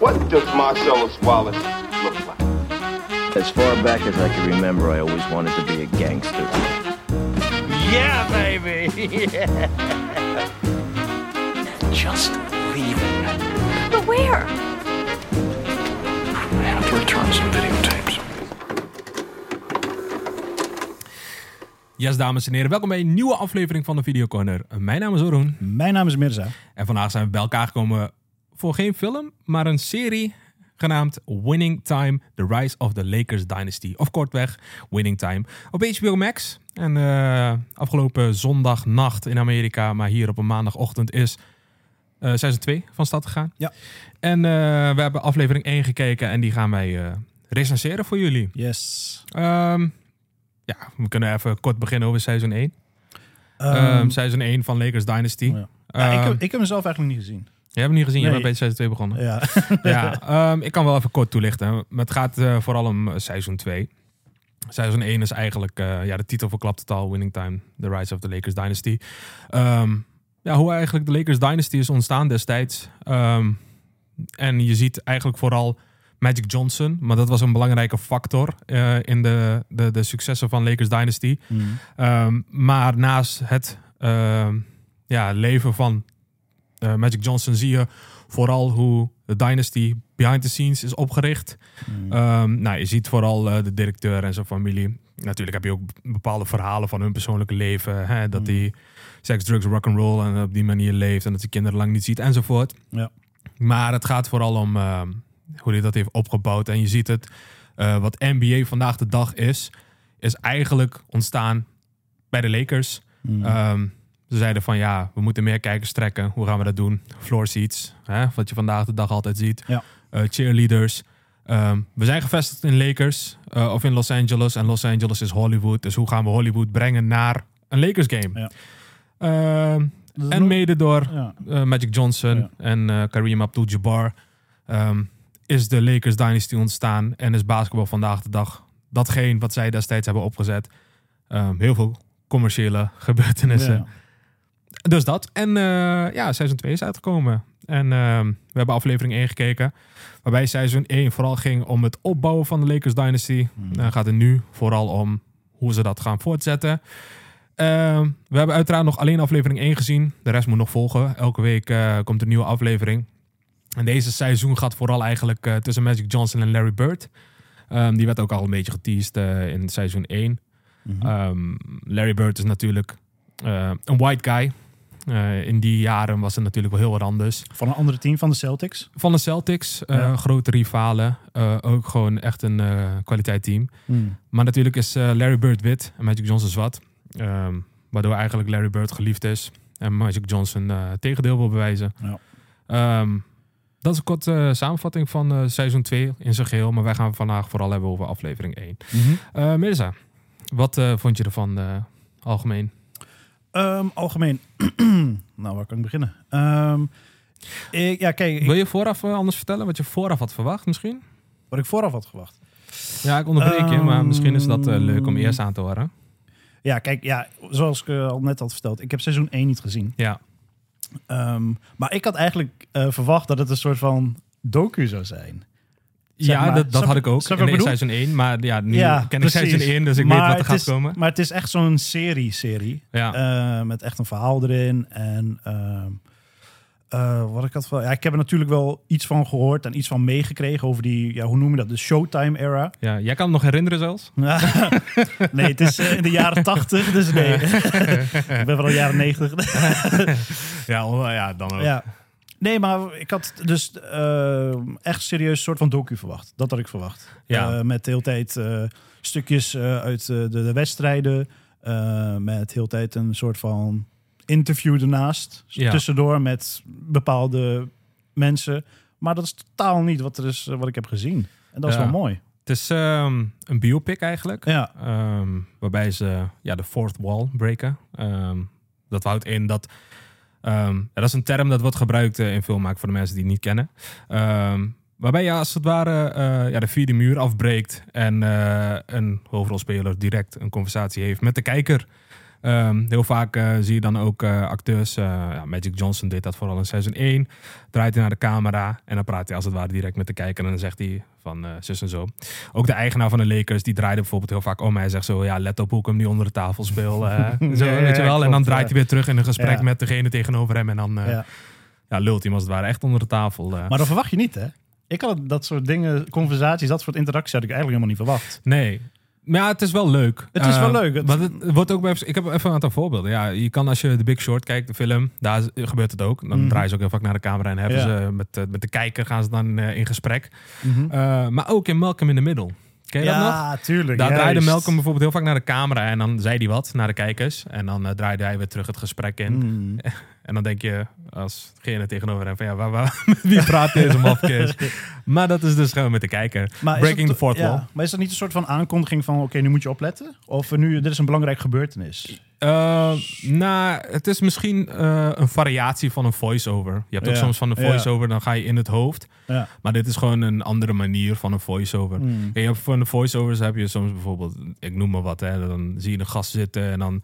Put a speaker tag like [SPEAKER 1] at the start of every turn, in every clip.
[SPEAKER 1] What does Marcellus Wallace look like?
[SPEAKER 2] As far back as I can remember, I always wanted to be a gangster.
[SPEAKER 3] Yeah, baby!
[SPEAKER 4] Just leaving.
[SPEAKER 5] But where?
[SPEAKER 4] I have to return some videotapes.
[SPEAKER 6] Yes, dames en heren, welkom bij een nieuwe aflevering van de Video Corner. Mijn naam is Oroen
[SPEAKER 7] Mijn naam is Mirza.
[SPEAKER 6] en vandaag zijn we bij elkaar gekomen voor geen film, maar een serie genaamd Winning Time: The Rise of the Lakers Dynasty. Of kortweg, Winning Time op HBO Max. En eh, afgelopen zondagnacht in Amerika, maar hier op een maandagochtend is eh seizoen 2 van stad gegaan.
[SPEAKER 7] Ja.
[SPEAKER 6] En eh, we hebben aflevering 1 gekeken en die gaan wij eh recenseren voor jullie.
[SPEAKER 7] Yes.
[SPEAKER 6] Ehm, ja, we kunnen even kort beginnen over seizoen 1.
[SPEAKER 7] Ehm, Oh
[SPEAKER 6] Ehm, seizoen 1 van Lakers Dynasty.
[SPEAKER 7] ja. ja, ik, heb, ik heb hem zelf eigenlijk niet gezien.
[SPEAKER 6] Je hebt hem niet gezien, je
[SPEAKER 7] Nee.
[SPEAKER 6] bent bij seizoen 2 begonnen.
[SPEAKER 7] Ja.
[SPEAKER 6] Ja, ehm, ik kan wel even kort toelichten. Maar het gaat eh, vooral om eh, seizoen 2. Seizoen 1 is eigenlijk, eh, ja, de titel verklapt het al, Winning Time, The Rise of the Lakers Dynasty. Ehm, ja, hoe eigenlijk de Lakers Dynasty is ontstaan destijds. Ehm, en je ziet eigenlijk vooral Magic Johnson, maar dat was een belangrijke factor eh, in de, de, de successen van Lakers Dynasty. Ehm, maar naast het ehm, ja, leven van eh, Magic Johnson zie je vooral hoe de Dynasty behind the scenes is opgericht. Ehm, nou, je ziet vooral eh, de directeur en zijn familie. Natuurlijk heb je ook bepaalde verhalen van hun persoonlijke leven. Hè, dat die seks, drugs, rock'n'roll en op die manier leeft. En dat hij kinderen lang niet ziet enzovoort.
[SPEAKER 7] Ja.
[SPEAKER 6] Maar het gaat vooral om ehm, hoe hij dat heeft opgebouwd. En je ziet het, eh, wat NBA vandaag de dag is, is eigenlijk ontstaan bij de Lakers.
[SPEAKER 7] Mm.
[SPEAKER 6] Ehm, ze zeiden van ja, we moeten meer kijkers trekken. Hoe gaan we dat doen? Floor seats, hè, wat je vandaag de dag altijd ziet.
[SPEAKER 7] Ja.
[SPEAKER 6] Eh, cheerleaders. Ehm, we zijn gevestigd in Lakers eh, of in Los Angeles. En Los Angeles is Hollywood. Dus hoe gaan we Hollywood brengen naar een Lakers game?
[SPEAKER 7] Ja.
[SPEAKER 6] Ehm,
[SPEAKER 7] Dat is
[SPEAKER 6] en
[SPEAKER 7] nog-
[SPEAKER 6] mede door
[SPEAKER 7] Ja.
[SPEAKER 6] eh, Magic Johnson
[SPEAKER 7] Ja.
[SPEAKER 6] en eh, Kareem Abdul-Jabbar ehm, is de Lakers Dynasty ontstaan en is basketbal vandaag de dag datgene wat zij destijds hebben opgezet. Ehm, heel veel commerciële gebeurtenissen.
[SPEAKER 7] Ja.
[SPEAKER 6] Dus dat. En eh, ja, seizoen 2 is uitgekomen. En ehm, we hebben aflevering 1 gekeken. Waarbij seizoen 1 vooral ging om het opbouwen van de Lakers Dynasty. Dan gaat het nu vooral om hoe ze dat gaan voortzetten. Ehm, we hebben uiteraard nog alleen aflevering 1 gezien. De rest moet nog volgen. Elke week eh, komt een nieuwe aflevering. En deze seizoen gaat vooral eigenlijk eh, tussen Magic Johnson en Larry Bird. Ehm, die werd ook al een beetje geteased eh, in seizoen 1.
[SPEAKER 7] Mhm.
[SPEAKER 6] Ehm, Larry Bird is natuurlijk eh, een white guy. Eh, in die jaren was het natuurlijk wel heel wat anders.
[SPEAKER 7] Van een andere team, van de Celtics.
[SPEAKER 6] Van de Celtics, eh,
[SPEAKER 7] Ja.
[SPEAKER 6] grote rivalen. eh, ook gewoon echt een eh kwaliteit team. Maar natuurlijk is eh, Larry Bird wit en Magic Johnson zwart. Ehm, waardoor eigenlijk Larry Bird geliefd is. En Magic Johnson eh tegendeel wil bewijzen.
[SPEAKER 7] Ja.
[SPEAKER 6] Ehm, dat is een korte eh, samenvatting van eh, seizoen 2 in zijn geheel. Maar wij gaan het vandaag vooral hebben over aflevering 1.
[SPEAKER 7] Mhm.
[SPEAKER 6] Eh Mirza, wat eh, vond je ervan eh, algemeen?
[SPEAKER 7] Ehm, algemeen. nou, waar kan ik beginnen? Ehm, ik, ja, kijk, ik-
[SPEAKER 6] Wil je vooraf eh, anders vertellen wat je vooraf had verwacht misschien?
[SPEAKER 7] wat ik vooraf had gewacht.
[SPEAKER 6] Ja, ik onderbreek je, maar misschien is dat eh,
[SPEAKER 7] Ehm,
[SPEAKER 6] leuk om eerst aan te horen.
[SPEAKER 7] Ja, kijk, ja, zoals ik eh, al net had verteld, ik heb seizoen 1 niet gezien.
[SPEAKER 6] Ja.
[SPEAKER 7] Ehm, maar ik had eigenlijk eh, verwacht dat het een soort van docu zou zijn. Zeg
[SPEAKER 6] ja,
[SPEAKER 7] maar.
[SPEAKER 6] dat, dat
[SPEAKER 7] Snap-
[SPEAKER 6] had ik ook.
[SPEAKER 7] snap
[SPEAKER 6] In
[SPEAKER 7] je wat ik
[SPEAKER 6] eerste
[SPEAKER 7] bedoel?
[SPEAKER 6] seizoen 1, maar ja, nu ken ik
[SPEAKER 7] precies.
[SPEAKER 6] seizoen 1, dus ik
[SPEAKER 7] Maar
[SPEAKER 6] weet wat er
[SPEAKER 7] het
[SPEAKER 6] gaat
[SPEAKER 7] is-
[SPEAKER 6] komen.
[SPEAKER 7] Maar het is echt zo'n serie-serie.
[SPEAKER 6] Ja.
[SPEAKER 7] Eh, met echt een verhaal erin. En ehm, eh, wat ik had wel. Ja, ik heb er natuurlijk wel iets van gehoord en iets van meegekregen over die, ja, hoe noem je dat? De Showtime-era.
[SPEAKER 6] Ja, jij kan het nog herinneren zelfs?
[SPEAKER 7] nee, het is eh, in de jaren tachtig, dus nee. ik ben wel jaren negentig.
[SPEAKER 6] Ja, oh, ja dan ook.
[SPEAKER 7] Ja. Nee, maar ik had dus eh, echt serieus een soort van docu verwacht. Dat had ik verwacht.
[SPEAKER 6] Ja.
[SPEAKER 7] Eh, met de hele tijd eh, stukjes eh, uit eh, de, de wedstrijden. Eh, met de hele tijd een soort van interview ernaast.
[SPEAKER 6] Ja.
[SPEAKER 7] Tussendoor met bepaalde mensen. Maar dat is totaal niet wat, er is, eh, wat ik heb gezien. En dat is
[SPEAKER 6] Ja.
[SPEAKER 7] wel mooi.
[SPEAKER 6] Het is ehm, een biopic eigenlijk,
[SPEAKER 7] Ja.
[SPEAKER 6] ehm, waarbij ze ja, de fourth wall breken. Ehm, dat houdt in dat... ehm, ja, dat is een term dat wordt gebruikt eh, in filmmaak voor de mensen die het niet kennen. Ehm, waarbij je als het ware eh, ja, de vierde muur afbreekt en eh, een hoofdrolspeler direct een conversatie heeft met de kijker. Ehm, heel vaak eh, zie je dan ook eh, acteurs. eh, ja, Magic Johnson deed dat vooral in seizoen 1. Draait hij naar de camera en dan praat hij als het ware direct met de kijker. En dan zegt hij van eh, zus en zo. Ook de eigenaar van de Lakers, die draaide bijvoorbeeld heel vaak om. Hij zegt zo, ja, let op hoe ik hem nu onder de tafel speel. eh. zo,
[SPEAKER 7] Ja, ja,
[SPEAKER 6] weet je wel. En dan
[SPEAKER 7] klopt,
[SPEAKER 6] draait
[SPEAKER 7] ja.
[SPEAKER 6] hij weer terug in een gesprek
[SPEAKER 7] Ja.
[SPEAKER 6] met degene tegenover hem. En dan eh, ja.
[SPEAKER 7] Ja.
[SPEAKER 6] lult hij hem als het ware echt onder de tafel. eh.
[SPEAKER 7] Maar dat verwacht je niet, hè? Ik had het- dat soort dingen, conversaties, dat soort interacties had ik eigenlijk helemaal niet verwacht.
[SPEAKER 6] Nee. Maar ja, het is wel leuk.
[SPEAKER 7] Het is
[SPEAKER 6] Eh,
[SPEAKER 7] wel leuk. Het-
[SPEAKER 6] want het wordt ook bij, ik heb even een aantal voorbeelden. Ja, je kan als je de Big Short kijkt, de film, daar is- gebeurt het ook. Dan draaien ze ook heel vaak naar de camera en hebben
[SPEAKER 7] Mhm. Ja.
[SPEAKER 6] ze eh, met, de- met de kijker gaan ze dan eh, in gesprek. Eh, maar ook in Malcolm in the Middle. Ken je dat nog?
[SPEAKER 7] Mhm. ja, tuurlijk.
[SPEAKER 6] Daar draaide
[SPEAKER 7] juist.
[SPEAKER 6] Malcolm bijvoorbeeld heel vaak naar de camera en dan zei hij wat naar de kijkers. En dan eh, draaide hij weer terug het gesprek in.
[SPEAKER 7] Mm.
[SPEAKER 6] En dan denk je alsgene tegenover hem van ja, waar, waar, met wie praat deze mafkees? maar dat is dus gewoon met de kijker.
[SPEAKER 7] Maar is
[SPEAKER 6] Breaking
[SPEAKER 7] dat-
[SPEAKER 6] the fourth
[SPEAKER 7] ja,
[SPEAKER 6] wall.
[SPEAKER 7] Maar is dat niet een soort van aankondiging van, oké, nu moet je opletten? Of eh, nu, dit is een belangrijke gebeurtenis.
[SPEAKER 6] Eh, nou, het is misschien eh, een variatie van een voice-over. Je hebt ook
[SPEAKER 7] Ja.
[SPEAKER 6] soms van een
[SPEAKER 7] Ja.
[SPEAKER 6] voice-over, dan ga je in het hoofd.
[SPEAKER 7] Ja.
[SPEAKER 6] Maar dit is gewoon een andere manier van een voice-over.
[SPEAKER 7] Hmm.
[SPEAKER 6] Kijk, Je hebt van de voice-overs heb je soms bijvoorbeeld, ik noem maar wat, hè, dan zie je een gast zitten en dan,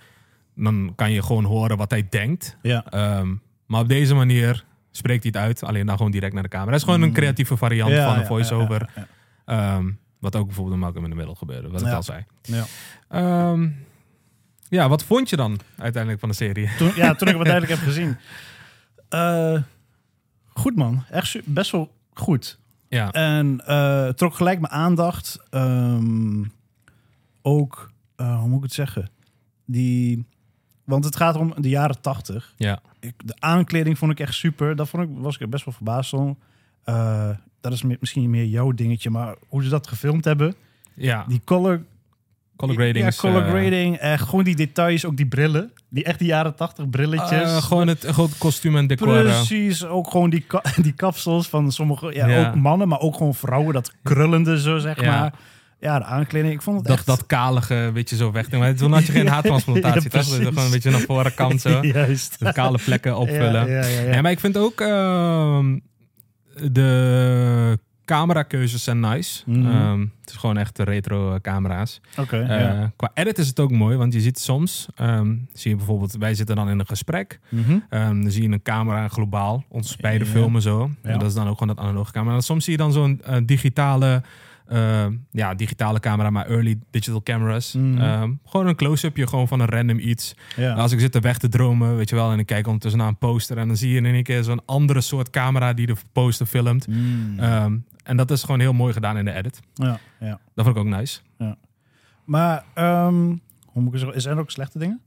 [SPEAKER 6] dan kan je gewoon horen wat hij denkt.
[SPEAKER 7] Ja.
[SPEAKER 6] Ehm, maar op deze manier spreekt hij het uit, alleen dan gewoon direct naar de camera. Het is gewoon een creatieve variant
[SPEAKER 7] Hmm. Ja,
[SPEAKER 6] van een
[SPEAKER 7] ja,
[SPEAKER 6] voice-over.
[SPEAKER 7] ja, ja,
[SPEAKER 6] Ehm, wat ook bijvoorbeeld in Malcolm in the Middle gebeurde, wat ik
[SPEAKER 7] Ja.
[SPEAKER 6] al zei.
[SPEAKER 7] ja.
[SPEAKER 6] Ehm, ja, wat vond je dan uiteindelijk van de serie?
[SPEAKER 7] Toen, ja, toen ik het uiteindelijk heb gezien. Eh, goed man, echt su- best wel goed.
[SPEAKER 6] Ja.
[SPEAKER 7] En eh, het trok gelijk mijn aandacht. Ehm, ook, eh, hoe moet ik het zeggen? Die, want het gaat om de jaren tachtig.
[SPEAKER 6] Ja,
[SPEAKER 7] De aankleding vond ik echt super. Daar vond ik, was ik er best wel verbaasd om. Eh, dat is mi- misschien meer jouw dingetje, maar hoe ze dat gefilmd hebben.
[SPEAKER 6] ja.
[SPEAKER 7] Die color,
[SPEAKER 6] color grading.
[SPEAKER 7] ja,
[SPEAKER 6] is,
[SPEAKER 7] color
[SPEAKER 6] eh,
[SPEAKER 7] grading. eh, gewoon die details, ook die brillen. Die echt die jaren tachtig brilletjes.
[SPEAKER 6] eh, gewoon het gewoon het kostuum en decor. eh.
[SPEAKER 7] Precies, ook gewoon die, ka- die kapsels van sommige, ja,
[SPEAKER 6] Ja.
[SPEAKER 7] ook mannen, maar ook gewoon vrouwen, dat krullende zo, zeg
[SPEAKER 6] Ja.
[SPEAKER 7] maar. Ja, de aankleding, ik vond het
[SPEAKER 6] dat,
[SPEAKER 7] echt...
[SPEAKER 6] dat kalige, weet je, zo weg. Maar toen had je geen
[SPEAKER 7] Ja,
[SPEAKER 6] haartransplantatie. toch? Dat je
[SPEAKER 7] precies.
[SPEAKER 6] gewoon een beetje naar voren kant zo.
[SPEAKER 7] Juist.
[SPEAKER 6] De kale plekken opvullen.
[SPEAKER 7] Ja, ja, ja, ja.
[SPEAKER 6] Nee, maar ik vind ook ehm, de camerakeuzes zijn nice.
[SPEAKER 7] Mhm.
[SPEAKER 6] Ehm, het is gewoon echt retro eh, camera's.
[SPEAKER 7] Oké, ja.
[SPEAKER 6] Eh, Qua edit is het ook mooi, want je ziet soms, ehm, zie je bijvoorbeeld, wij zitten dan in een gesprek.
[SPEAKER 7] Mhm.
[SPEAKER 6] Ehm, dan zie je een camera globaal, ons beide
[SPEAKER 7] Ja.
[SPEAKER 6] filmen zo.
[SPEAKER 7] Ja.
[SPEAKER 6] En dat is dan ook gewoon dat analoge camera. En soms zie je dan zo'n eh, digitale, eh, ja, digitale camera, maar early digital cameras.
[SPEAKER 7] Mhm.
[SPEAKER 6] Ehm, gewoon een close-upje gewoon van een random iets.
[SPEAKER 7] ja.
[SPEAKER 6] En Als ik zit te weg te dromen, weet je wel, en ik kijk ondertussen naar een poster. En dan zie je in één keer zo'n andere soort camera die de poster filmt.
[SPEAKER 7] Mm.
[SPEAKER 6] Ehm, en dat is gewoon heel mooi gedaan in de edit.
[SPEAKER 7] ja, ja.
[SPEAKER 6] Dat vond ik ook nice.
[SPEAKER 7] Maar, ehm, hoe moet ik het zeggen, zijn er ook slechte dingen?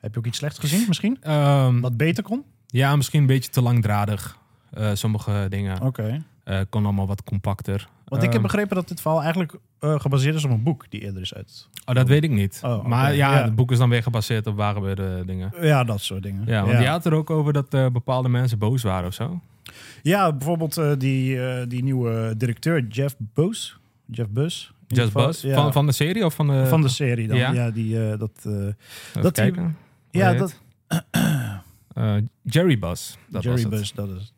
[SPEAKER 7] Heb je ook iets slechts gezien misschien?
[SPEAKER 6] Ehm,
[SPEAKER 7] Wat beter kon?
[SPEAKER 6] ja, misschien een beetje te langdradig. eh, sommige dingen
[SPEAKER 7] Oké.
[SPEAKER 6] Eh, kon allemaal wat compacter.
[SPEAKER 7] Oh. Want ik heb
[SPEAKER 6] Ehm,
[SPEAKER 7] begrepen dat dit verhaal eigenlijk eh, gebaseerd is op een boek die eerder is uit.
[SPEAKER 6] Oh, dat weet ik niet.
[SPEAKER 7] Oh, oké.
[SPEAKER 6] Maar ja,
[SPEAKER 7] Ja.
[SPEAKER 6] het boek is dan weer gebaseerd op waar gebeurde dingen.
[SPEAKER 7] Ja, dat soort dingen.
[SPEAKER 6] Ja, want je had er ook over dat eh, bepaalde mensen boos waren of zo.
[SPEAKER 7] Ja, bijvoorbeeld eh, die, eh, die nieuwe directeur, Jeff Bus. Jeff Bus. In
[SPEAKER 6] Just
[SPEAKER 7] ieder geval,
[SPEAKER 6] Buzz?
[SPEAKER 7] ja,
[SPEAKER 6] Van, van de serie of van de...
[SPEAKER 7] van de serie dan.
[SPEAKER 6] ja.
[SPEAKER 7] Ja, die, eh, dat, eh,
[SPEAKER 6] Even
[SPEAKER 7] dat die-
[SPEAKER 6] kijken. Hoe
[SPEAKER 7] ja,
[SPEAKER 6] heet
[SPEAKER 7] dat,
[SPEAKER 6] het? Eh, Jerry Buzz. Dat
[SPEAKER 7] Jerry
[SPEAKER 6] was het.
[SPEAKER 7] Bus, dat is het.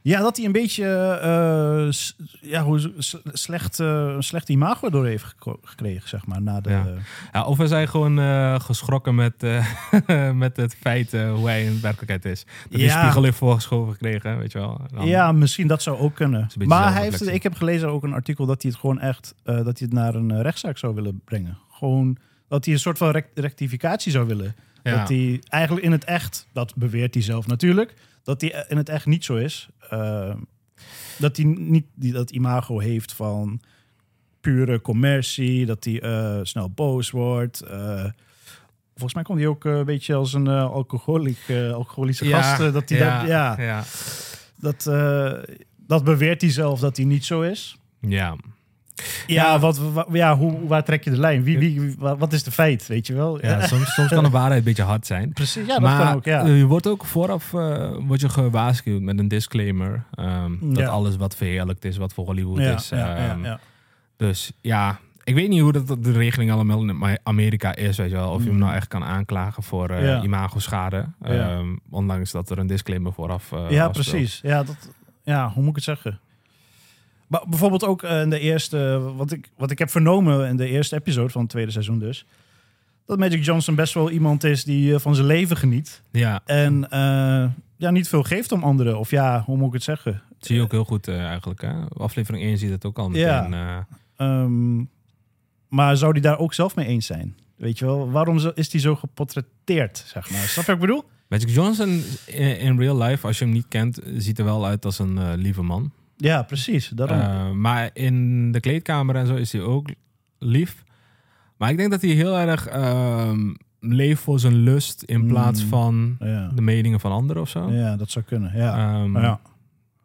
[SPEAKER 7] Ja, dat hij een beetje eh, s- ja, hoe, z- s- slecht, eh, een slecht imago door heeft geko- gekregen, zeg maar. Na de,
[SPEAKER 6] Ja. Ja, of we zijn gewoon eh, geschrokken met, eh, met het feit eh, hoe hij in werkelijkheid is. Dat hij
[SPEAKER 7] Ja.
[SPEAKER 6] spiegel heeft voorgeschoven gekregen, weet je wel. Dan-
[SPEAKER 7] ja, misschien dat zou ook kunnen.
[SPEAKER 6] beetje
[SPEAKER 7] Maar hij heeft,
[SPEAKER 6] zelfreflectie.
[SPEAKER 7] ik heb gelezen ook een artikel dat hij het gewoon echt eh, dat hij het naar een eh, rechtszaak zou willen brengen. Gewoon dat hij een soort van rec- rectificatie zou willen.
[SPEAKER 6] Ja.
[SPEAKER 7] Dat hij eigenlijk in het echt, dat beweert hij zelf natuurlijk, dat hij eh, in het echt niet zo is. Eh, dat hij niet die, dat imago heeft van pure commercie, dat hij eh, snel boos wordt. eh, Volgens mij komt hij ook eh, een beetje als een eh alcoholic, eh, alcoholische gast. eh, dat hij
[SPEAKER 6] ja,
[SPEAKER 7] dat, ja,
[SPEAKER 6] ja.
[SPEAKER 7] dat, eh, dat beweert hij zelf dat hij niet zo is.
[SPEAKER 6] Ja.
[SPEAKER 7] Ja, wat, wa- ja hoe, waar trek je de lijn? Wie, wie, wa- wat is de feit, weet je wel?
[SPEAKER 6] Ja, soms, soms kan de waarheid een beetje hard zijn.
[SPEAKER 7] precies. Ja, dat
[SPEAKER 6] maar
[SPEAKER 7] kan ook, ja.
[SPEAKER 6] eh, je wordt ook vooraf eh, word je gewaarschuwd met een disclaimer. ehm, Dat
[SPEAKER 7] Ja.
[SPEAKER 6] alles wat verheerlijkt is, wat voor Hollywood
[SPEAKER 7] ja,
[SPEAKER 6] is.
[SPEAKER 7] ja, ja,
[SPEAKER 6] ehm,
[SPEAKER 7] ja.
[SPEAKER 6] Dus ja, ik weet niet hoe dat de regeling allemaal in Ma- Amerika is. Weet je wel. Of je hem nou echt kan aanklagen voor eh
[SPEAKER 7] Mm. Ja.
[SPEAKER 6] imago-schade. ehm, ondanks dat er een disclaimer vooraf eh,
[SPEAKER 7] Ja,
[SPEAKER 6] afspeelt.
[SPEAKER 7] precies. Ja, dat, ja, hoe moet ik het zeggen? Maar bijvoorbeeld ook eh, in de eerste, wat ik, wat ik heb vernomen in de eerste episode van het tweede seizoen dus, dat Magic Johnson best wel iemand is die eh, van zijn leven geniet.
[SPEAKER 6] Ja,
[SPEAKER 7] En eh, ja, niet veel geeft om anderen. Of ja, hoe moet ik het zeggen?
[SPEAKER 6] dat zie je ook heel goed eh, eigenlijk. Hè? Aflevering 1 zie je dat ook al meteen.
[SPEAKER 7] Ja.
[SPEAKER 6] eh,
[SPEAKER 7] Ehm, maar zou die daar ook zelf mee eens zijn? Weet je wel, waarom zo- is die zo geportretteerd, zeg maar? Snap je wat ik bedoel?
[SPEAKER 6] Magic Johnson in, in real life, als je hem niet kent, ziet er wel uit als een eh, lieve man.
[SPEAKER 7] Ja, precies. Daarom.
[SPEAKER 6] Eh, maar in de kleedkamer en zo is hij ook lief. Maar ik denk dat hij heel erg ehm, leeft voor zijn lust in plaats
[SPEAKER 7] Mm.
[SPEAKER 6] van
[SPEAKER 7] ja.
[SPEAKER 6] de meningen van anderen of zo.
[SPEAKER 7] ja, dat zou kunnen. Ja.
[SPEAKER 6] Ehm,
[SPEAKER 7] Maar ja.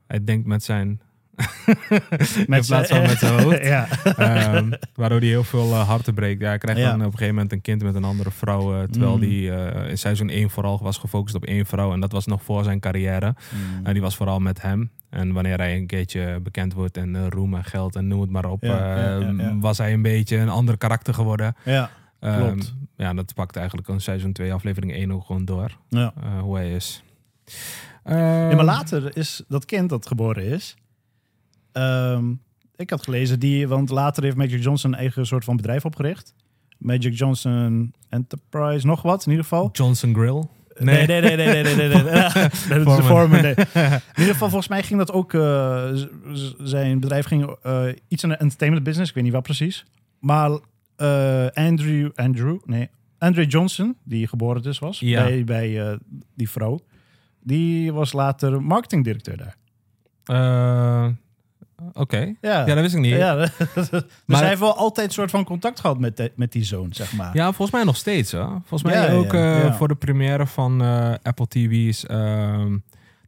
[SPEAKER 6] Hij denkt met zijn. in
[SPEAKER 7] Met
[SPEAKER 6] plaats van
[SPEAKER 7] zijn-
[SPEAKER 6] met zijn hoofd.
[SPEAKER 7] ja.
[SPEAKER 6] Ehm, waardoor hij heel veel eh, harten breekt. Ja, hij krijgt
[SPEAKER 7] Ja.
[SPEAKER 6] dan op een gegeven moment een kind met een andere vrouw. eh, terwijl
[SPEAKER 7] Mm.
[SPEAKER 6] die eh, in seizoen 1 vooral was gefocust op één vrouw. En dat was nog voor zijn carrière.
[SPEAKER 7] Mm.
[SPEAKER 6] En die was vooral met hem. En wanneer hij een keertje bekend wordt en eh, roem en geld en noem het maar op,
[SPEAKER 7] Ja, ja, ja,
[SPEAKER 6] eh,
[SPEAKER 7] ja.
[SPEAKER 6] was hij een beetje een ander karakter geworden.
[SPEAKER 7] ja.
[SPEAKER 6] Ehm,
[SPEAKER 7] Klopt.
[SPEAKER 6] ja, dat pakt eigenlijk in seizoen 2, aflevering 1 ook gewoon door.
[SPEAKER 7] Ja.
[SPEAKER 6] eh, hoe hij is.
[SPEAKER 7] Ja, maar
[SPEAKER 6] Ehm,
[SPEAKER 7] later is dat kind dat geboren is. ehm, ik had gelezen die, want later heeft Magic Johnson een eigen soort van bedrijf opgericht. Magic Johnson Enterprise, nog wat in ieder geval.
[SPEAKER 6] Johnson Grill.
[SPEAKER 7] Nee, nee, nee, nee, nee, nee, nee. nee, nee. Dat is de
[SPEAKER 6] Foreman.
[SPEAKER 7] Foreman, nee. In ieder geval, volgens mij ging dat ook. eh, z- z- zijn bedrijf ging eh, iets in de entertainment business, ik weet niet wat precies. Maar eh, Andrew, Andrew, nee, Andre Johnson, die geboren dus was
[SPEAKER 6] Ja.
[SPEAKER 7] bij, bij eh, die vrouw, die was later marketingdirecteur daar.
[SPEAKER 6] Eh, Oké.
[SPEAKER 7] Ja,
[SPEAKER 6] Ja, dat wist ik niet. Ja.
[SPEAKER 7] Ja, dus
[SPEAKER 6] Maar-
[SPEAKER 7] hij heeft wel altijd een soort van contact gehad met, de- met die zoon, zeg maar.
[SPEAKER 6] volgens mij nog steeds. Hè? Volgens mij
[SPEAKER 7] Ja,
[SPEAKER 6] ook
[SPEAKER 7] ja,
[SPEAKER 6] eh,
[SPEAKER 7] ja.
[SPEAKER 6] voor de première van eh, Apple TV's. ehm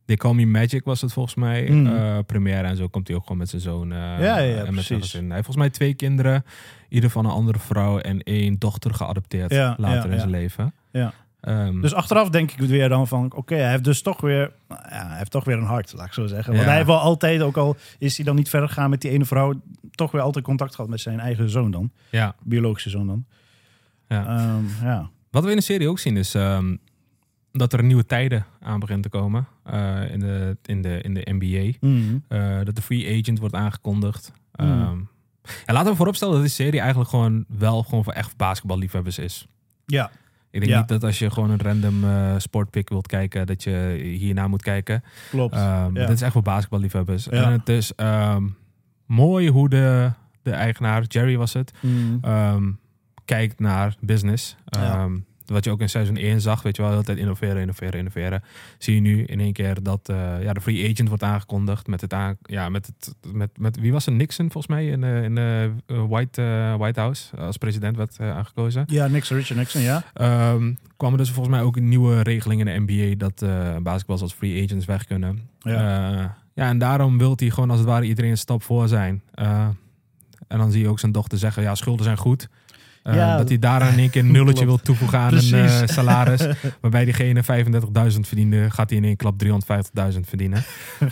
[SPEAKER 6] They Call Me Magic was het volgens mij.
[SPEAKER 7] Mm.
[SPEAKER 6] eh, première en zo komt hij ook gewoon met zijn zoon. eh,
[SPEAKER 7] ja, ja,
[SPEAKER 6] en met zijn
[SPEAKER 7] precies.
[SPEAKER 6] gezin. Hij heeft volgens mij twee kinderen. Ieder van een andere vrouw en één dochter geadopteerd
[SPEAKER 7] Ja,
[SPEAKER 6] later
[SPEAKER 7] ja,
[SPEAKER 6] in
[SPEAKER 7] ja.
[SPEAKER 6] zijn leven.
[SPEAKER 7] Ja.
[SPEAKER 6] Ehm,
[SPEAKER 7] Dus achteraf denk ik weer dan van, oké, hij heeft dus toch weer, nou ja, hij heeft toch weer een hart, laat ik zo zeggen. Want
[SPEAKER 6] Ja.
[SPEAKER 7] hij heeft wel altijd, ook al is hij dan niet verder gegaan met die ene vrouw, toch weer altijd contact gehad met zijn eigen zoon dan,
[SPEAKER 6] ja.
[SPEAKER 7] biologische zoon dan.
[SPEAKER 6] Ja.
[SPEAKER 7] Ehm, ja.
[SPEAKER 6] Wat we in de serie ook zien is ehm, dat er nieuwe tijden aan beginnen te komen eh, in, de, in, de, in de NBA.
[SPEAKER 7] Mhm.
[SPEAKER 6] Eh, dat de free agent wordt aangekondigd.
[SPEAKER 7] Mm.
[SPEAKER 6] Ehm, ja, laten we vooropstellen dat die serie eigenlijk gewoon wel gewoon voor echt basketballiefhebbers is.
[SPEAKER 7] ja.
[SPEAKER 6] Ik denk
[SPEAKER 7] Ja.
[SPEAKER 6] niet dat als je gewoon een random eh, sportpick wilt kijken, dat je hierna moet kijken.
[SPEAKER 7] klopt.
[SPEAKER 6] Ehm
[SPEAKER 7] Ja.
[SPEAKER 6] Dit is echt voor basketballiefhebbers.
[SPEAKER 7] Ja.
[SPEAKER 6] En het is ehm, mooi hoe de, de eigenaar, Jerry was het,
[SPEAKER 7] Mhm.
[SPEAKER 6] ehm, kijkt naar business.
[SPEAKER 7] Ja.
[SPEAKER 6] Ehm, Wat je ook in seizoen 1 zag, weet je wel, de hele tijd innoveren, innoveren, innoveren. Zie je nu in één keer dat eh, ja, de free agent wordt aangekondigd met het aan, ja, met het, met, met wie was het? Nixon volgens mij in de, in de eh, White, eh, White House als president werd eh, aangekozen.
[SPEAKER 7] ja, Nixon, Richard Nixon, ja.
[SPEAKER 6] Ehm kwamen dus volgens mij ook een nieuwe regeling in de NBA dat eh basketballers als free agents weg kunnen. Ja. Eh, ja, en daarom wil hij gewoon als het ware iedereen een stap voor zijn. Eh, en dan zie je ook zijn dochter zeggen, ja, schulden zijn goed. Eh,
[SPEAKER 7] Ja.
[SPEAKER 6] dat hij daar in één keer een nulletje wil
[SPEAKER 7] Klopt.
[SPEAKER 6] toevoegen aan een
[SPEAKER 7] Precies.
[SPEAKER 6] eh, salaris. Waarbij diegene 35.000 verdiende, gaat hij in één klap 350.000 verdienen.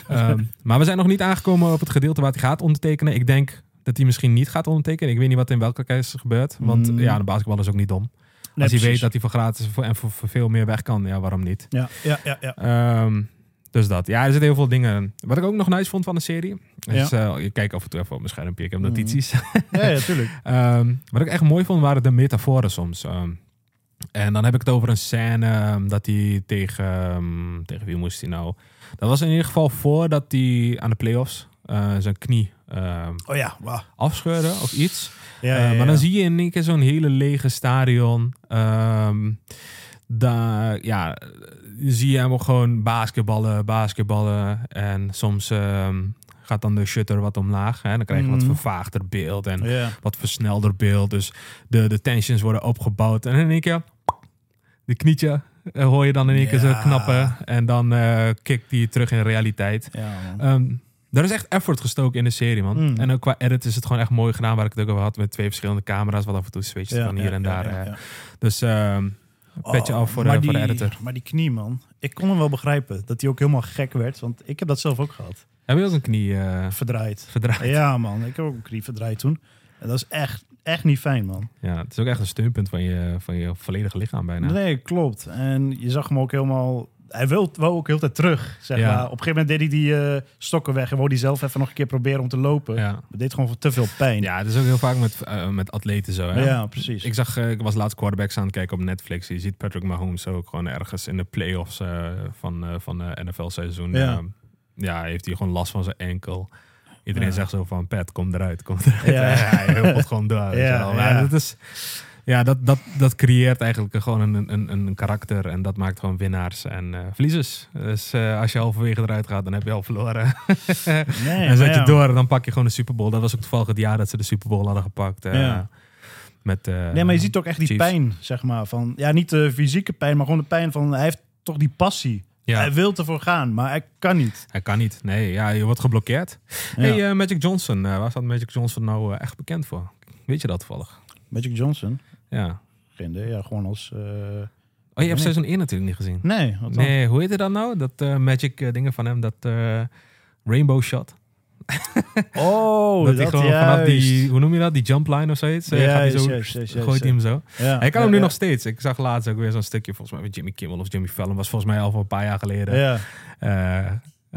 [SPEAKER 6] Ehm, maar we zijn nog niet aangekomen op het gedeelte waar hij gaat ondertekenen. Ik denk dat hij misschien niet gaat ondertekenen. Ik weet niet wat in welke case gebeurt. Want
[SPEAKER 7] Mm.
[SPEAKER 6] ja, de basketballer is ook niet dom.
[SPEAKER 7] Nee,
[SPEAKER 6] Als hij
[SPEAKER 7] precies.
[SPEAKER 6] weet dat hij voor gratis voor, en voor, voor veel meer weg kan, ja, waarom niet?
[SPEAKER 7] Ja, ja, ja, ja.
[SPEAKER 6] Ehm, dus dat. Ja, er zitten heel veel dingen. in. Wat ik ook nog nice vond van de serie, is eh, je kijkt af en toe even op mijn schermpje, ik heb notities.
[SPEAKER 7] Ja, ja, tuurlijk.
[SPEAKER 6] Ehm, wat ik echt mooi vond, waren de metaforen soms. Ehm, en dan heb ik het over een scène ehm, dat hij tegen... ehm, tegen wie moest hij nou? Dat was in ieder geval voordat hij aan de playoffs eh, zijn knie ehm,
[SPEAKER 7] Oh ja, wauw.
[SPEAKER 6] afscheurde of iets.
[SPEAKER 7] Ja,
[SPEAKER 6] Eh,
[SPEAKER 7] ja,
[SPEAKER 6] maar
[SPEAKER 7] ja.
[SPEAKER 6] dan zie je in één keer zo'n hele lege stadion. Ehm daar, ja, zie je hem ook gewoon basketballen, basketballen. En soms ehm, gaat dan de shutter wat omlaag. Hè? Dan krijg je wat
[SPEAKER 7] Mhm.
[SPEAKER 6] vervaagder beeld en
[SPEAKER 7] Ja.
[SPEAKER 6] wat versnelder beeld. Dus de, de tensions worden opgebouwd. En in één keer, de knietje eh, hoor je dan in één keer zo
[SPEAKER 7] Ja.
[SPEAKER 6] knappen. En dan eh kikt die terug in realiteit.
[SPEAKER 7] Ja, man.
[SPEAKER 6] Ehm, daar is echt effort gestoken in de serie, man.
[SPEAKER 7] Mm.
[SPEAKER 6] En ook qua edit is het gewoon echt mooi gedaan. Waar ik het ook over had met twee verschillende camera's. Wat af en toe switcht
[SPEAKER 7] Ja,
[SPEAKER 6] van hier
[SPEAKER 7] ja,
[SPEAKER 6] en
[SPEAKER 7] ja,
[SPEAKER 6] daar.
[SPEAKER 7] ja,
[SPEAKER 6] eh.
[SPEAKER 7] ja.
[SPEAKER 6] Dus ehm petje
[SPEAKER 7] Oh,
[SPEAKER 6] af voor,
[SPEAKER 7] maar
[SPEAKER 6] de, voor de
[SPEAKER 7] die-
[SPEAKER 6] editor.
[SPEAKER 7] Maar die knie, man. Ik kon hem wel begrijpen dat hij ook helemaal gek werd. Want ik heb dat zelf ook gehad.
[SPEAKER 6] Heb je ook een knie eh,
[SPEAKER 7] Verdraaid.
[SPEAKER 6] verdraaid? Ja.
[SPEAKER 7] Ah, Ja, man. Ik heb ook een knie verdraaid toen. En dat is echt, echt niet fijn, man.
[SPEAKER 6] het nou. is ook echt een steunpunt van je, van je volledige lichaam bijna.
[SPEAKER 7] Nee, klopt. En je zag hem ook helemaal hij wil, wou ook heel de tijd terug, zeg
[SPEAKER 6] Ja.
[SPEAKER 7] maar. Op een gegeven moment deed hij die eh, stokken weg en wou die zelf even nog een keer proberen om te lopen.
[SPEAKER 6] Ja.
[SPEAKER 7] Dat deed gewoon te veel pijn.
[SPEAKER 6] Ja, dat is ook heel vaak met, eh, met atleten zo. Hè?
[SPEAKER 7] Ja, precies.
[SPEAKER 6] Ik zag, eh, ik was laatst quarterbacks aan het kijken op Netflix. Je ziet Patrick Mahomes ook gewoon ergens in de playoffs eh, van, eh, van de NFL-seizoen.
[SPEAKER 7] Ja.
[SPEAKER 6] Ja. Ehm, ja, heeft hij gewoon last van zijn enkel. Iedereen
[SPEAKER 7] Ja.
[SPEAKER 6] zegt zo van, Pat, kom eruit, kom eruit.
[SPEAKER 7] Ja.
[SPEAKER 6] hij huppelt gewoon door. weet je
[SPEAKER 7] Ja,
[SPEAKER 6] wel. Maar
[SPEAKER 7] ja.
[SPEAKER 6] dat is... Ja, dat, dat, dat creëert eigenlijk gewoon een, een, een karakter en dat maakt gewoon winnaars en eh, verliezers. Dus eh, als je halverwege eruit gaat, dan heb je al verloren.
[SPEAKER 7] Nee,
[SPEAKER 6] en zet
[SPEAKER 7] maar
[SPEAKER 6] je
[SPEAKER 7] ja.
[SPEAKER 6] door en dan pak je gewoon de Super Bowl. Dat was ook toevallig het jaar dat ze de Super Bowl hadden gepakt. eh,
[SPEAKER 7] Ja.
[SPEAKER 6] met, eh,
[SPEAKER 7] Nee, maar je ziet ook echt die
[SPEAKER 6] Chiefs.
[SPEAKER 7] pijn, zeg maar. Van, ja, niet de fysieke pijn, maar gewoon de pijn van... Hij heeft toch die passie.
[SPEAKER 6] Ja.
[SPEAKER 7] Hij wil ervoor gaan, maar hij kan niet.
[SPEAKER 6] Hij kan niet. Nee, ja, je wordt geblokkeerd. Hey, eh, Magic Johnson. eh, waar staat Magic Johnson nou eh, echt bekend voor? Weet je dat toevallig?
[SPEAKER 7] Magic Johnson?
[SPEAKER 6] Ja.
[SPEAKER 7] Geen idee, ja, gewoon als... eh,
[SPEAKER 6] Oh, je hebt
[SPEAKER 7] Nee.
[SPEAKER 6] seizoen 1 natuurlijk niet gezien.
[SPEAKER 7] Nee, wat dan?
[SPEAKER 6] Nee, hoe heette dat nou? Dat eh, Magic eh, dingen van hem, dat eh, Rainbow Shot.
[SPEAKER 7] Oh,
[SPEAKER 6] dat
[SPEAKER 7] dat,
[SPEAKER 6] hij gewoon vanaf die, hoe noem je dat? Die jump line of zoiets. eh, gaat hij zo,
[SPEAKER 7] Juist, juist, juist, juist,
[SPEAKER 6] gooit hij hem zo.
[SPEAKER 7] Ja,
[SPEAKER 6] Hij kan
[SPEAKER 7] ja,
[SPEAKER 6] hem nu
[SPEAKER 7] ja.
[SPEAKER 6] nog steeds. Ik zag laatst ook weer zo'n stukje, volgens mij met Jimmy Kimmel of Jimmy Fallon. Was volgens mij al van een paar jaar geleden.
[SPEAKER 7] Ja,
[SPEAKER 6] Eh,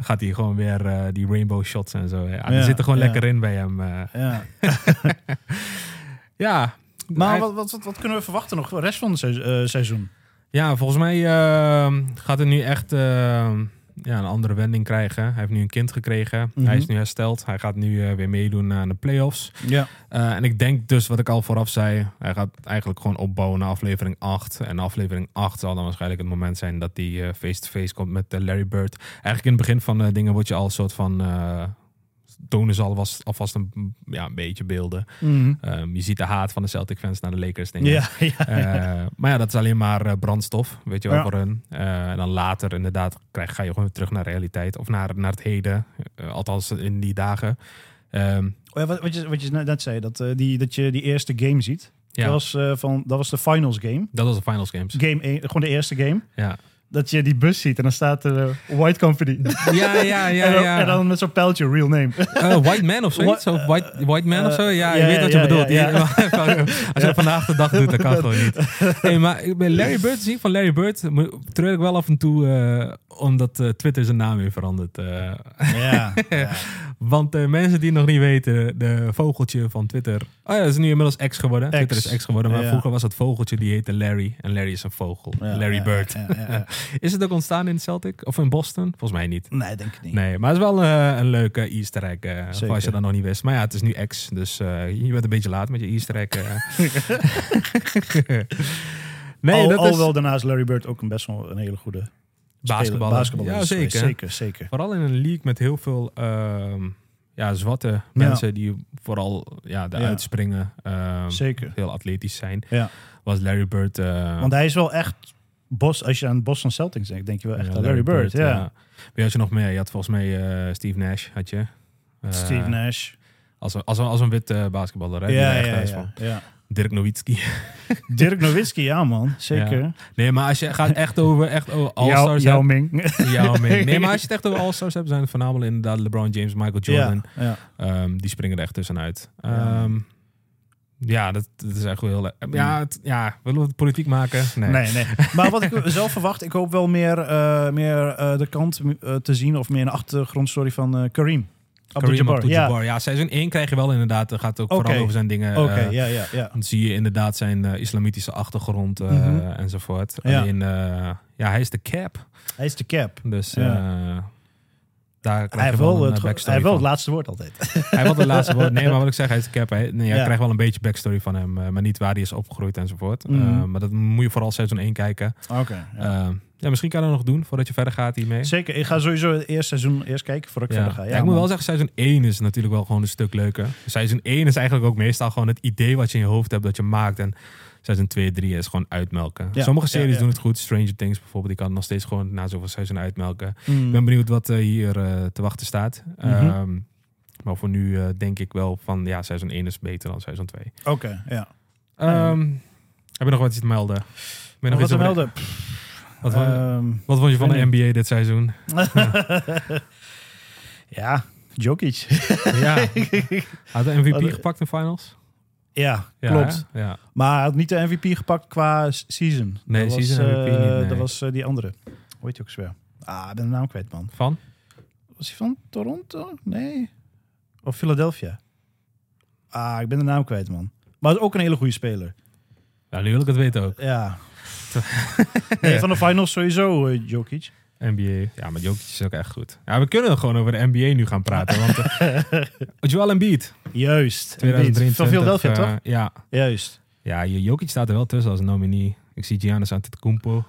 [SPEAKER 6] gaat hij gewoon weer eh, die rainbow shots en zo. Ja, die
[SPEAKER 7] Ja,
[SPEAKER 6] zitten gewoon
[SPEAKER 7] ja.
[SPEAKER 6] lekker in bij hem. eh.
[SPEAKER 7] ja.
[SPEAKER 6] ja.
[SPEAKER 7] Maar
[SPEAKER 6] Hij-
[SPEAKER 7] wat, wat, wat, wat kunnen we verwachten nog voor de rest van het seizoen? eh, seizoen?
[SPEAKER 6] Ja, volgens mij ehm, gaat het nu echt ehm, ja, een andere wending krijgen. Hij heeft nu een kind gekregen.
[SPEAKER 7] Mhm.
[SPEAKER 6] Hij is nu hersteld. Hij gaat nu eh, weer meedoen aan de playoffs.
[SPEAKER 7] Ja.
[SPEAKER 6] Eh, en ik denk dus, wat ik al vooraf zei, hij gaat eigenlijk gewoon opbouwen naar aflevering 8. En aflevering 8 zal dan waarschijnlijk het moment zijn dat hij eh, face-to-face komt met eh, Larry Bird. Eigenlijk in het begin van de dingen word je al een soort van... eh tonen ze alvast, alvast een, ja, een beetje beelden. Ehm, je ziet de haat van de Celtic fans naar de Lakers. Denk ik.
[SPEAKER 7] Mhm. Ja, ja.
[SPEAKER 6] Eh, maar ja, dat is alleen maar eh, brandstof, weet je wel,
[SPEAKER 7] Ja.
[SPEAKER 6] voor hun. Eh, en dan later inderdaad krijg, ga je gewoon weer terug naar realiteit. Of naar, naar het heden, eh, althans in die dagen. Ehm,
[SPEAKER 7] Oh ja, wat, wat, je, wat je net zei, dat, eh, die, dat je die eerste game ziet.
[SPEAKER 6] ja,
[SPEAKER 7] Dat, was, eh, van, dat was de finals game.
[SPEAKER 6] dat was de finals games.
[SPEAKER 7] game één- gewoon de eerste game.
[SPEAKER 6] Ja,
[SPEAKER 7] Dat je die bus ziet en dan staat er eh, White Company.
[SPEAKER 6] ja, ja, ja.
[SPEAKER 7] en, dan,
[SPEAKER 6] ja.
[SPEAKER 7] en dan met zo'n pijltje, real name.
[SPEAKER 6] Eh, white man of zoiets?
[SPEAKER 7] Wha-
[SPEAKER 6] Of white, white man of zo? Ja,
[SPEAKER 7] eh,
[SPEAKER 6] je
[SPEAKER 7] ja,
[SPEAKER 6] weet wat je
[SPEAKER 7] ja,
[SPEAKER 6] bedoelt. eh,
[SPEAKER 7] ja, ja.
[SPEAKER 6] Als je dat vandaag de dag doet, dat kan gewoon niet. Hey, maar ik ben Larry Bird te zien van Larry Bird. mo- Treur ik wel af en toe, eh, omdat eh, Twitter zijn naam weer verandert. eh.
[SPEAKER 7] ja.
[SPEAKER 6] Want eh, mensen die het nog niet weten, de vogeltje van Twitter. Oh ja, dat is nu inmiddels ex geworden.
[SPEAKER 7] Ex.
[SPEAKER 6] Twitter is ex geworden, maar
[SPEAKER 7] Ja.
[SPEAKER 6] vroeger was dat vogeltje die heette Larry. En Larry is een vogel.
[SPEAKER 7] Ja,
[SPEAKER 6] Larry
[SPEAKER 7] ja,
[SPEAKER 6] Bird.
[SPEAKER 7] ja, ja, ja.
[SPEAKER 6] Is het ook ontstaan in Celtic of in Boston? Volgens mij niet.
[SPEAKER 7] Nee, denk ik niet.
[SPEAKER 6] Nee, maar het is wel eh, een leuke Easter egg. eh, voor als je
[SPEAKER 7] Zeker.
[SPEAKER 6] dat nog niet wist. Maar ja, het is nu ex. Dus eh, je bent een beetje laat met je Easter egg. eh. nee,
[SPEAKER 7] al,
[SPEAKER 6] dat is
[SPEAKER 7] alhoewel daarnaast Larry Bird ook een best wel een hele goede
[SPEAKER 6] basketbal.
[SPEAKER 7] basketbal
[SPEAKER 6] Ja,
[SPEAKER 7] is.
[SPEAKER 6] zeker.
[SPEAKER 7] Zeker, zeker.
[SPEAKER 6] Vooral in een league met heel veel ehm, ja, zwarte mensen die vooral ja, de
[SPEAKER 7] Ja.
[SPEAKER 6] uitspringen. ehm,
[SPEAKER 7] Zeker.
[SPEAKER 6] heel atletisch zijn.
[SPEAKER 7] Ja.
[SPEAKER 6] Was Larry Bird. eh,
[SPEAKER 7] Want hij is wel echt... Bos, als je aan Boston Celtics denkt, denk je wel echt
[SPEAKER 6] ja,
[SPEAKER 7] aan Larry, Bird. ja.
[SPEAKER 6] Wie had je nog meer? Je had volgens mij eh, Steve Nash, had je. Eh,
[SPEAKER 7] Steve Nash.
[SPEAKER 6] Als een, als een, als een wit eh, basketballer, hè? die
[SPEAKER 7] Ja,
[SPEAKER 6] er echt
[SPEAKER 7] ja,
[SPEAKER 6] thuis
[SPEAKER 7] ja,
[SPEAKER 6] van.
[SPEAKER 7] ja.
[SPEAKER 6] Dirk Nowitzki.
[SPEAKER 7] Dirk Nowitzki, ja man, zeker.
[SPEAKER 6] Ja. Nee, maar als je gaat echt over echt over All-Stars...
[SPEAKER 7] Yao
[SPEAKER 6] hebt-
[SPEAKER 7] Ming.
[SPEAKER 6] Yao Ming. Nee, maar als je het echt over All-Stars hebt, zijn het voornamelijk inderdaad LeBron James, Michael Jordan.
[SPEAKER 7] Ja, ja.
[SPEAKER 6] Ehm, die springen er echt tussenuit. Ehm, ja, dat, dat is echt wel heel... erg. Ja, het, ja, willen we het politiek maken? Nee.
[SPEAKER 7] Hmm. Nee, nee. Maar wat ik zelf verwacht, ik hoop wel meer, eh, meer eh, de kant eh, te zien of meer een achtergrondstory van eh, Kareem.
[SPEAKER 6] Kareem
[SPEAKER 7] Abdul-Jabbar. Ja,
[SPEAKER 6] Abdul-Jabbar. Ja, seizoen 1 krijg je wel inderdaad. Dat gaat ook
[SPEAKER 7] Oké.
[SPEAKER 6] vooral over zijn dingen.
[SPEAKER 7] oké,
[SPEAKER 6] eh,
[SPEAKER 7] ja, ja, ja.
[SPEAKER 6] Dan zie je inderdaad zijn eh, islamitische achtergrond eh,
[SPEAKER 7] Mhm.
[SPEAKER 6] enzovoort.
[SPEAKER 7] Ja.
[SPEAKER 6] Alleen, eh, ja, hij is de cap.
[SPEAKER 7] Hij is de cap.
[SPEAKER 6] Dus
[SPEAKER 7] Ja.
[SPEAKER 6] eh, daar krijg
[SPEAKER 7] Hij
[SPEAKER 6] je
[SPEAKER 7] heeft
[SPEAKER 6] wel, een
[SPEAKER 7] wel, het,
[SPEAKER 6] eh,
[SPEAKER 7] ge-
[SPEAKER 6] backstory
[SPEAKER 7] hij heeft wel het
[SPEAKER 6] van.
[SPEAKER 7] laatste woord altijd.
[SPEAKER 6] Hij heeft wel de laatste woord. Nee, maar wat ik zeg, hij is de cap. Hij, nee, ja, Je
[SPEAKER 7] Ja.
[SPEAKER 6] krijgt wel een beetje backstory van hem, eh, maar niet waar hij is opgegroeid enzovoort.
[SPEAKER 7] Mhm.
[SPEAKER 6] Eh, maar dat moet je vooral seizoen 1 kijken.
[SPEAKER 7] Oké.
[SPEAKER 6] Eh, Ja. misschien kan hij dat nog doen voordat je verder gaat hiermee.
[SPEAKER 7] Zeker, ik ga sowieso het eerste seizoen eerst kijken voordat ik
[SPEAKER 6] Ja.
[SPEAKER 7] verder ga.
[SPEAKER 6] Ja,
[SPEAKER 7] Ja,
[SPEAKER 6] ik moet
[SPEAKER 7] man.
[SPEAKER 6] wel zeggen, seizoen 1 is natuurlijk wel gewoon een stuk leuker. Seizoen 1 is eigenlijk ook meestal gewoon het idee wat je in je hoofd hebt dat je maakt. En seizoen 2, 3 is gewoon uitmelken.
[SPEAKER 7] Ja.
[SPEAKER 6] Sommige
[SPEAKER 7] Ja,
[SPEAKER 6] series
[SPEAKER 7] ja.
[SPEAKER 6] doen het goed. Stranger Things bijvoorbeeld, die kan nog steeds gewoon na zoveel seizoen uitmelken.
[SPEAKER 7] Mm.
[SPEAKER 6] Ik ben benieuwd wat eh, hier eh, te wachten staat.
[SPEAKER 7] Mhm.
[SPEAKER 6] Ehm, maar voor nu eh, denk ik wel van ja, seizoen 1 is beter dan seizoen 2.
[SPEAKER 7] Oké, ja.
[SPEAKER 6] Ehm, Heb je nog wat iets te melden? Heb je nog
[SPEAKER 7] Wat
[SPEAKER 6] iets
[SPEAKER 7] te
[SPEAKER 6] over- eh,
[SPEAKER 7] melden?
[SPEAKER 6] Wat, vond-
[SPEAKER 7] Ehm,
[SPEAKER 6] wat vond je van de
[SPEAKER 7] weet
[SPEAKER 6] NBA dit seizoen?
[SPEAKER 7] ja, Jokic.
[SPEAKER 6] ja. Had de MVP
[SPEAKER 7] Wat-
[SPEAKER 6] gepakt in finals?
[SPEAKER 7] ja,
[SPEAKER 6] Ja,
[SPEAKER 7] klopt.
[SPEAKER 6] hè? Ja.
[SPEAKER 7] Maar hij had niet de MVP gepakt qua s- season.
[SPEAKER 6] Nee,
[SPEAKER 7] dat
[SPEAKER 6] season
[SPEAKER 7] was,
[SPEAKER 6] MVP
[SPEAKER 7] eh,
[SPEAKER 6] niet, nee.
[SPEAKER 7] Dat was eh, die andere. Hoe heet hij ook weer? Ah, ik ben de naam kwijt, man.
[SPEAKER 6] Van?
[SPEAKER 7] Was hij van Toronto? Nee. Of Philadelphia? Ah, ik ben de naam kwijt, man. Maar ook een hele goede speler.
[SPEAKER 6] Nou, nu wil ik het weten ook.
[SPEAKER 7] Ja. nee, van de finals sowieso, eh, Jokic.
[SPEAKER 6] NBA. Ja, maar Jokic is ook echt goed. Ja, we kunnen gewoon over de NBA nu gaan praten. Want eh, Joel Embiid.
[SPEAKER 7] Juist.
[SPEAKER 6] 2023.
[SPEAKER 7] Van Philadelphia,
[SPEAKER 6] eh,
[SPEAKER 7] toch?
[SPEAKER 6] Ja.
[SPEAKER 7] Juist.
[SPEAKER 6] Ja, J- Jokic staat er wel tussen als nominee. Ik zie Giannis Antetokounmpo.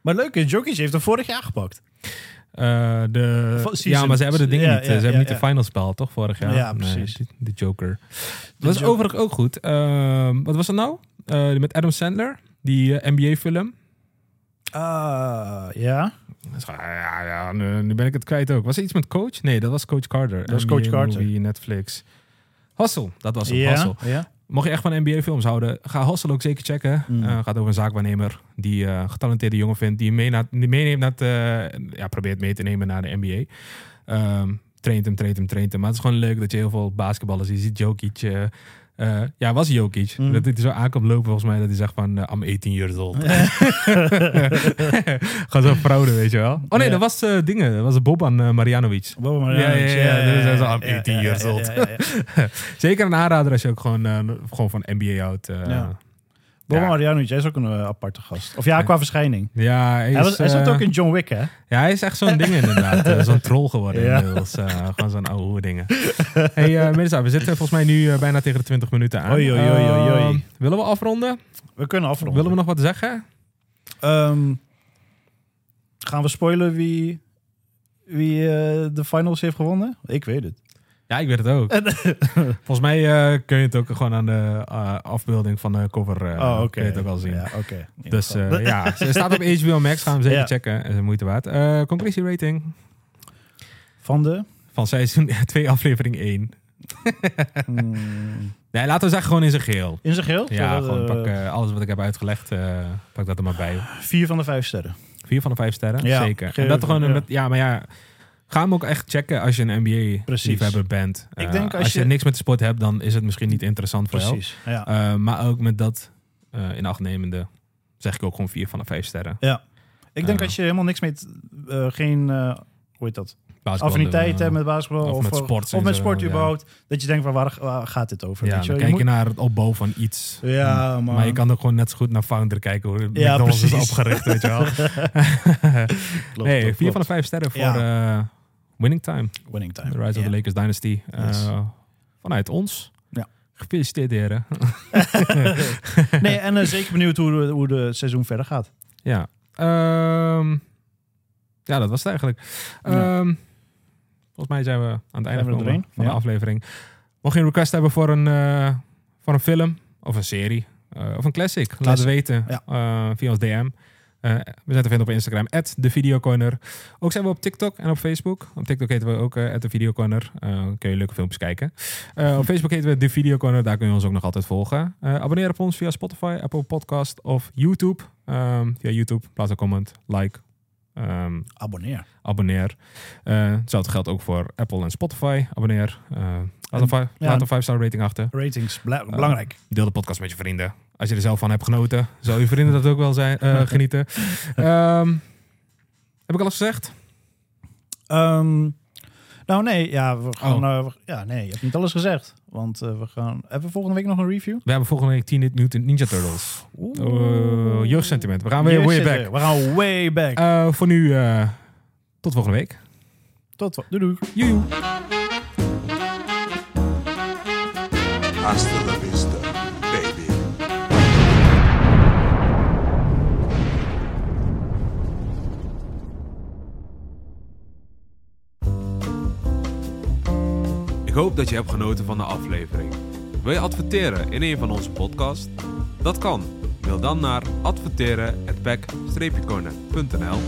[SPEAKER 7] Maar leuk, is, Jokic heeft hem vorig jaar gepakt.
[SPEAKER 6] Eh de,
[SPEAKER 7] Van season.
[SPEAKER 6] ja, maar ze hebben de ding
[SPEAKER 7] Ja,
[SPEAKER 6] niet. eh,
[SPEAKER 7] ja,
[SPEAKER 6] ze hebben
[SPEAKER 7] ja,
[SPEAKER 6] niet
[SPEAKER 7] ja.
[SPEAKER 6] de finals behaald, toch? Vorig jaar.
[SPEAKER 7] Ja,
[SPEAKER 6] Nee,
[SPEAKER 7] precies.
[SPEAKER 6] de, de Joker. Dat is
[SPEAKER 7] Joker.
[SPEAKER 6] overigens ook goed. Ehm, wat was dat nou? Eh, met Adam Sandler. Die eh, NBA-film.
[SPEAKER 7] Ah, ja.
[SPEAKER 6] Ja, ja, nu, nu ben ik het kwijt ook. Was er iets met coach? Nee, dat was Coach Carter.
[SPEAKER 7] Dat was Coach
[SPEAKER 6] NBA
[SPEAKER 7] Carter.
[SPEAKER 6] Movie, Netflix. Hustle, dat was hem.
[SPEAKER 7] Ja,
[SPEAKER 6] Hustle.
[SPEAKER 7] ja.
[SPEAKER 6] Mocht je echt van NBA-films houden, ga Hustle ook zeker checken.
[SPEAKER 7] Mm.
[SPEAKER 6] Eh, gaat over een zaakwaarnemer die eh, een getalenteerde jongen vindt, die hem mee na- die meeneemt naar het, eh, ja, probeert mee te nemen naar de NBA. Ehm, traint hem, traint hem, traint hem. Maar het is gewoon leuk dat je heel veel basketballers, je ziet Jokic... eh, eh, ja, was Jokic.
[SPEAKER 7] Mm.
[SPEAKER 6] Dat hij er zo aankomt lopen volgens mij, dat hij zegt van, eh, I'm 18 years old. Gaat zo fraude, weet je wel. Oh nee,
[SPEAKER 7] Ja.
[SPEAKER 6] dat was eh, dingen. Dat was Boban eh, Marjanovic.
[SPEAKER 7] Boba
[SPEAKER 6] Ja,
[SPEAKER 7] Marjanovic,
[SPEAKER 6] ja, ja, dat is- dat is al 18
[SPEAKER 7] ja,
[SPEAKER 6] years
[SPEAKER 7] ja,
[SPEAKER 6] old.
[SPEAKER 7] ja, ja, ja.
[SPEAKER 6] Zeker een aanrader als je ook gewoon, eh, gewoon van NBA houdt. eh.
[SPEAKER 7] Ja. Boba
[SPEAKER 6] Ja.
[SPEAKER 7] Marjanovic, hij is ook een eh, aparte gast. Of ja, qua verschijning.
[SPEAKER 6] Ja, hij, is,
[SPEAKER 7] Hij, was, hij zat
[SPEAKER 6] eh,
[SPEAKER 7] ook in John Wick, hè?
[SPEAKER 6] Ja, hij is echt zo'n ding inderdaad. Eh, zo'n troll geworden
[SPEAKER 7] Ja.
[SPEAKER 6] inmiddels. Eh, gewoon zo'n oude hoer dingen. hey, eh, Mirza, we zitten volgens mij nu eh, bijna tegen de 20 minuten aan.
[SPEAKER 7] Oei, oei, oei, oei,
[SPEAKER 6] Eh,
[SPEAKER 7] oei.
[SPEAKER 6] willen we afronden?
[SPEAKER 7] We kunnen afronden.
[SPEAKER 6] Willen we nog wat zeggen?
[SPEAKER 7] Ehm, gaan we spoilen wie, wie eh, de finals heeft gewonnen? Ik weet het.
[SPEAKER 6] Ja, ik weet het ook. volgens mij eh, kun je het ook gewoon aan de eh, afbeelding van de cover eh,
[SPEAKER 7] oh, oké.
[SPEAKER 6] kun je het ook al zien.
[SPEAKER 7] Ja, oké.
[SPEAKER 6] Dus eh, ja, ze staat op HBO Max. Ga hem zeker
[SPEAKER 7] Ja.
[SPEAKER 6] checken. Is de moeite waard. Eh conclusierating
[SPEAKER 7] Van de...
[SPEAKER 6] van seizoen 2, aflevering 1.
[SPEAKER 7] Hmm,
[SPEAKER 6] Nee, laten we zeggen gewoon in zijn geheel.
[SPEAKER 7] in zijn geheel?
[SPEAKER 6] Ja,
[SPEAKER 7] Zodat,
[SPEAKER 6] gewoon
[SPEAKER 7] eh,
[SPEAKER 6] pak eh, alles wat ik heb uitgelegd, eh, pak dat er maar bij.
[SPEAKER 7] Vier van de vijf sterren.
[SPEAKER 6] Vier van de vijf sterren,
[SPEAKER 7] Ja,
[SPEAKER 6] zeker. En
[SPEAKER 7] geef-
[SPEAKER 6] dat gewoon
[SPEAKER 7] ja.
[SPEAKER 6] ja. Met, ja, maar ja, ga hem ook echt checken als je een
[SPEAKER 7] Precies.
[SPEAKER 6] NBA-liefhebber bent.
[SPEAKER 7] Ik
[SPEAKER 6] Eh,
[SPEAKER 7] denk als
[SPEAKER 6] je...
[SPEAKER 7] je-
[SPEAKER 6] niks met de sport hebt, dan is het misschien niet interessant voor jou.
[SPEAKER 7] Precies. Ja.
[SPEAKER 6] Eh, maar ook met dat eh, in acht nemende zeg ik ook gewoon vier van de vijf sterren.
[SPEAKER 7] ik denk
[SPEAKER 6] eh,
[SPEAKER 7] als je helemaal niks met... eh, geen... eh, hoe heet dat?
[SPEAKER 6] Basketbal doen
[SPEAKER 7] Affiniteit
[SPEAKER 6] we-
[SPEAKER 7] hebt met basketbal.
[SPEAKER 6] of
[SPEAKER 7] Of, eh,
[SPEAKER 6] met sport
[SPEAKER 7] Of met
[SPEAKER 6] sowieso,
[SPEAKER 7] sport
[SPEAKER 6] ja.
[SPEAKER 7] überhaupt. Dat je denkt, van waar, waar gaat dit over?
[SPEAKER 6] Ja,
[SPEAKER 7] weet je
[SPEAKER 6] dan
[SPEAKER 7] wel? Je
[SPEAKER 6] kijk je
[SPEAKER 7] moet-
[SPEAKER 6] naar het opbouw van iets. Mm.
[SPEAKER 7] Ja, man.
[SPEAKER 6] Maar je kan ook gewoon net zo goed naar Founder kijken hoor.
[SPEAKER 7] Ja,
[SPEAKER 6] Ja, McDonald's is
[SPEAKER 7] precies.
[SPEAKER 6] opgericht, weet je wel.
[SPEAKER 7] Klopt,
[SPEAKER 6] nee,
[SPEAKER 7] klopt,
[SPEAKER 6] vier van
[SPEAKER 7] klopt.
[SPEAKER 6] de vijf sterren voor eh, Winning Time.
[SPEAKER 7] Winning time.
[SPEAKER 6] The Rise of the
[SPEAKER 7] Ja.
[SPEAKER 6] Lakers Dynasty. Eh,
[SPEAKER 7] Yes.
[SPEAKER 6] Vanuit ons.
[SPEAKER 7] Ja.
[SPEAKER 6] Gefeliciteerd heren.
[SPEAKER 7] Nee, en eh, zeker benieuwd hoe, de- hoe de seizoen verder gaat.
[SPEAKER 6] ja. Ehm, ja, dat was het eigenlijk.
[SPEAKER 7] Ja.
[SPEAKER 6] Ehm, Volgens mij zijn we aan het einde
[SPEAKER 7] we er
[SPEAKER 6] gekomen
[SPEAKER 7] doorheen?
[SPEAKER 6] van
[SPEAKER 7] Ja.
[SPEAKER 6] de aflevering. Mocht je een request hebben voor een, eh, voor een film of een serie eh, of een classic, laat het
[SPEAKER 7] Classic,
[SPEAKER 6] weten
[SPEAKER 7] ja.
[SPEAKER 6] eh, via ons DM. Eh, we zijn te vinden op Instagram, at de Videocorner. Ook zijn we op TikTok en op Facebook. Op TikTok heten we ook at de Videocorner. Eh kun je leuke filmpjes kijken. Eh, op Facebook heten we de Videocorner, daar kun je ons ook nog altijd volgen. Eh, abonneer op ons via Spotify, Apple Podcast of YouTube. Ehm, via YouTube, plaats een comment, like. Ehm,
[SPEAKER 7] Abonneer.
[SPEAKER 6] abonneer. Eh, hetzelfde geldt ook voor Apple en Spotify. Abonneer. Eh, laat, een fi-
[SPEAKER 7] ja.
[SPEAKER 6] laat een 5-star rating achter.
[SPEAKER 7] Ratings, bla- belangrijk.
[SPEAKER 6] Deel de podcast met je vrienden. Als je er zelf van hebt genoten, zal je vrienden dat ook wel zijn, eh, genieten. Ehm, heb ik alles gezegd?
[SPEAKER 7] Ehm, nou nee, ja,
[SPEAKER 6] Oh.
[SPEAKER 7] we gaan, eh, we- ja, nee, je hebt niet alles gezegd. Want eh, we gaan... Hebben we volgende week nog een review?
[SPEAKER 6] We hebben volgende week Teen Mutant Ninja Turtles. Eh, jeugdsentiment. We gaan weer way
[SPEAKER 7] Yes,
[SPEAKER 6] back.
[SPEAKER 7] yes, We gaan way back.
[SPEAKER 6] Eh, voor nu, eh, tot volgende week.
[SPEAKER 7] Tot wa- Doei doei.
[SPEAKER 6] Joejoe.
[SPEAKER 5] Hasta la vista, baby.
[SPEAKER 8] Ik hoop dat je hebt genoten van de aflevering. Wil je adverteren in een van onze podcasts? Dat kan. Mail dan naar adverteren@pack-corner.nl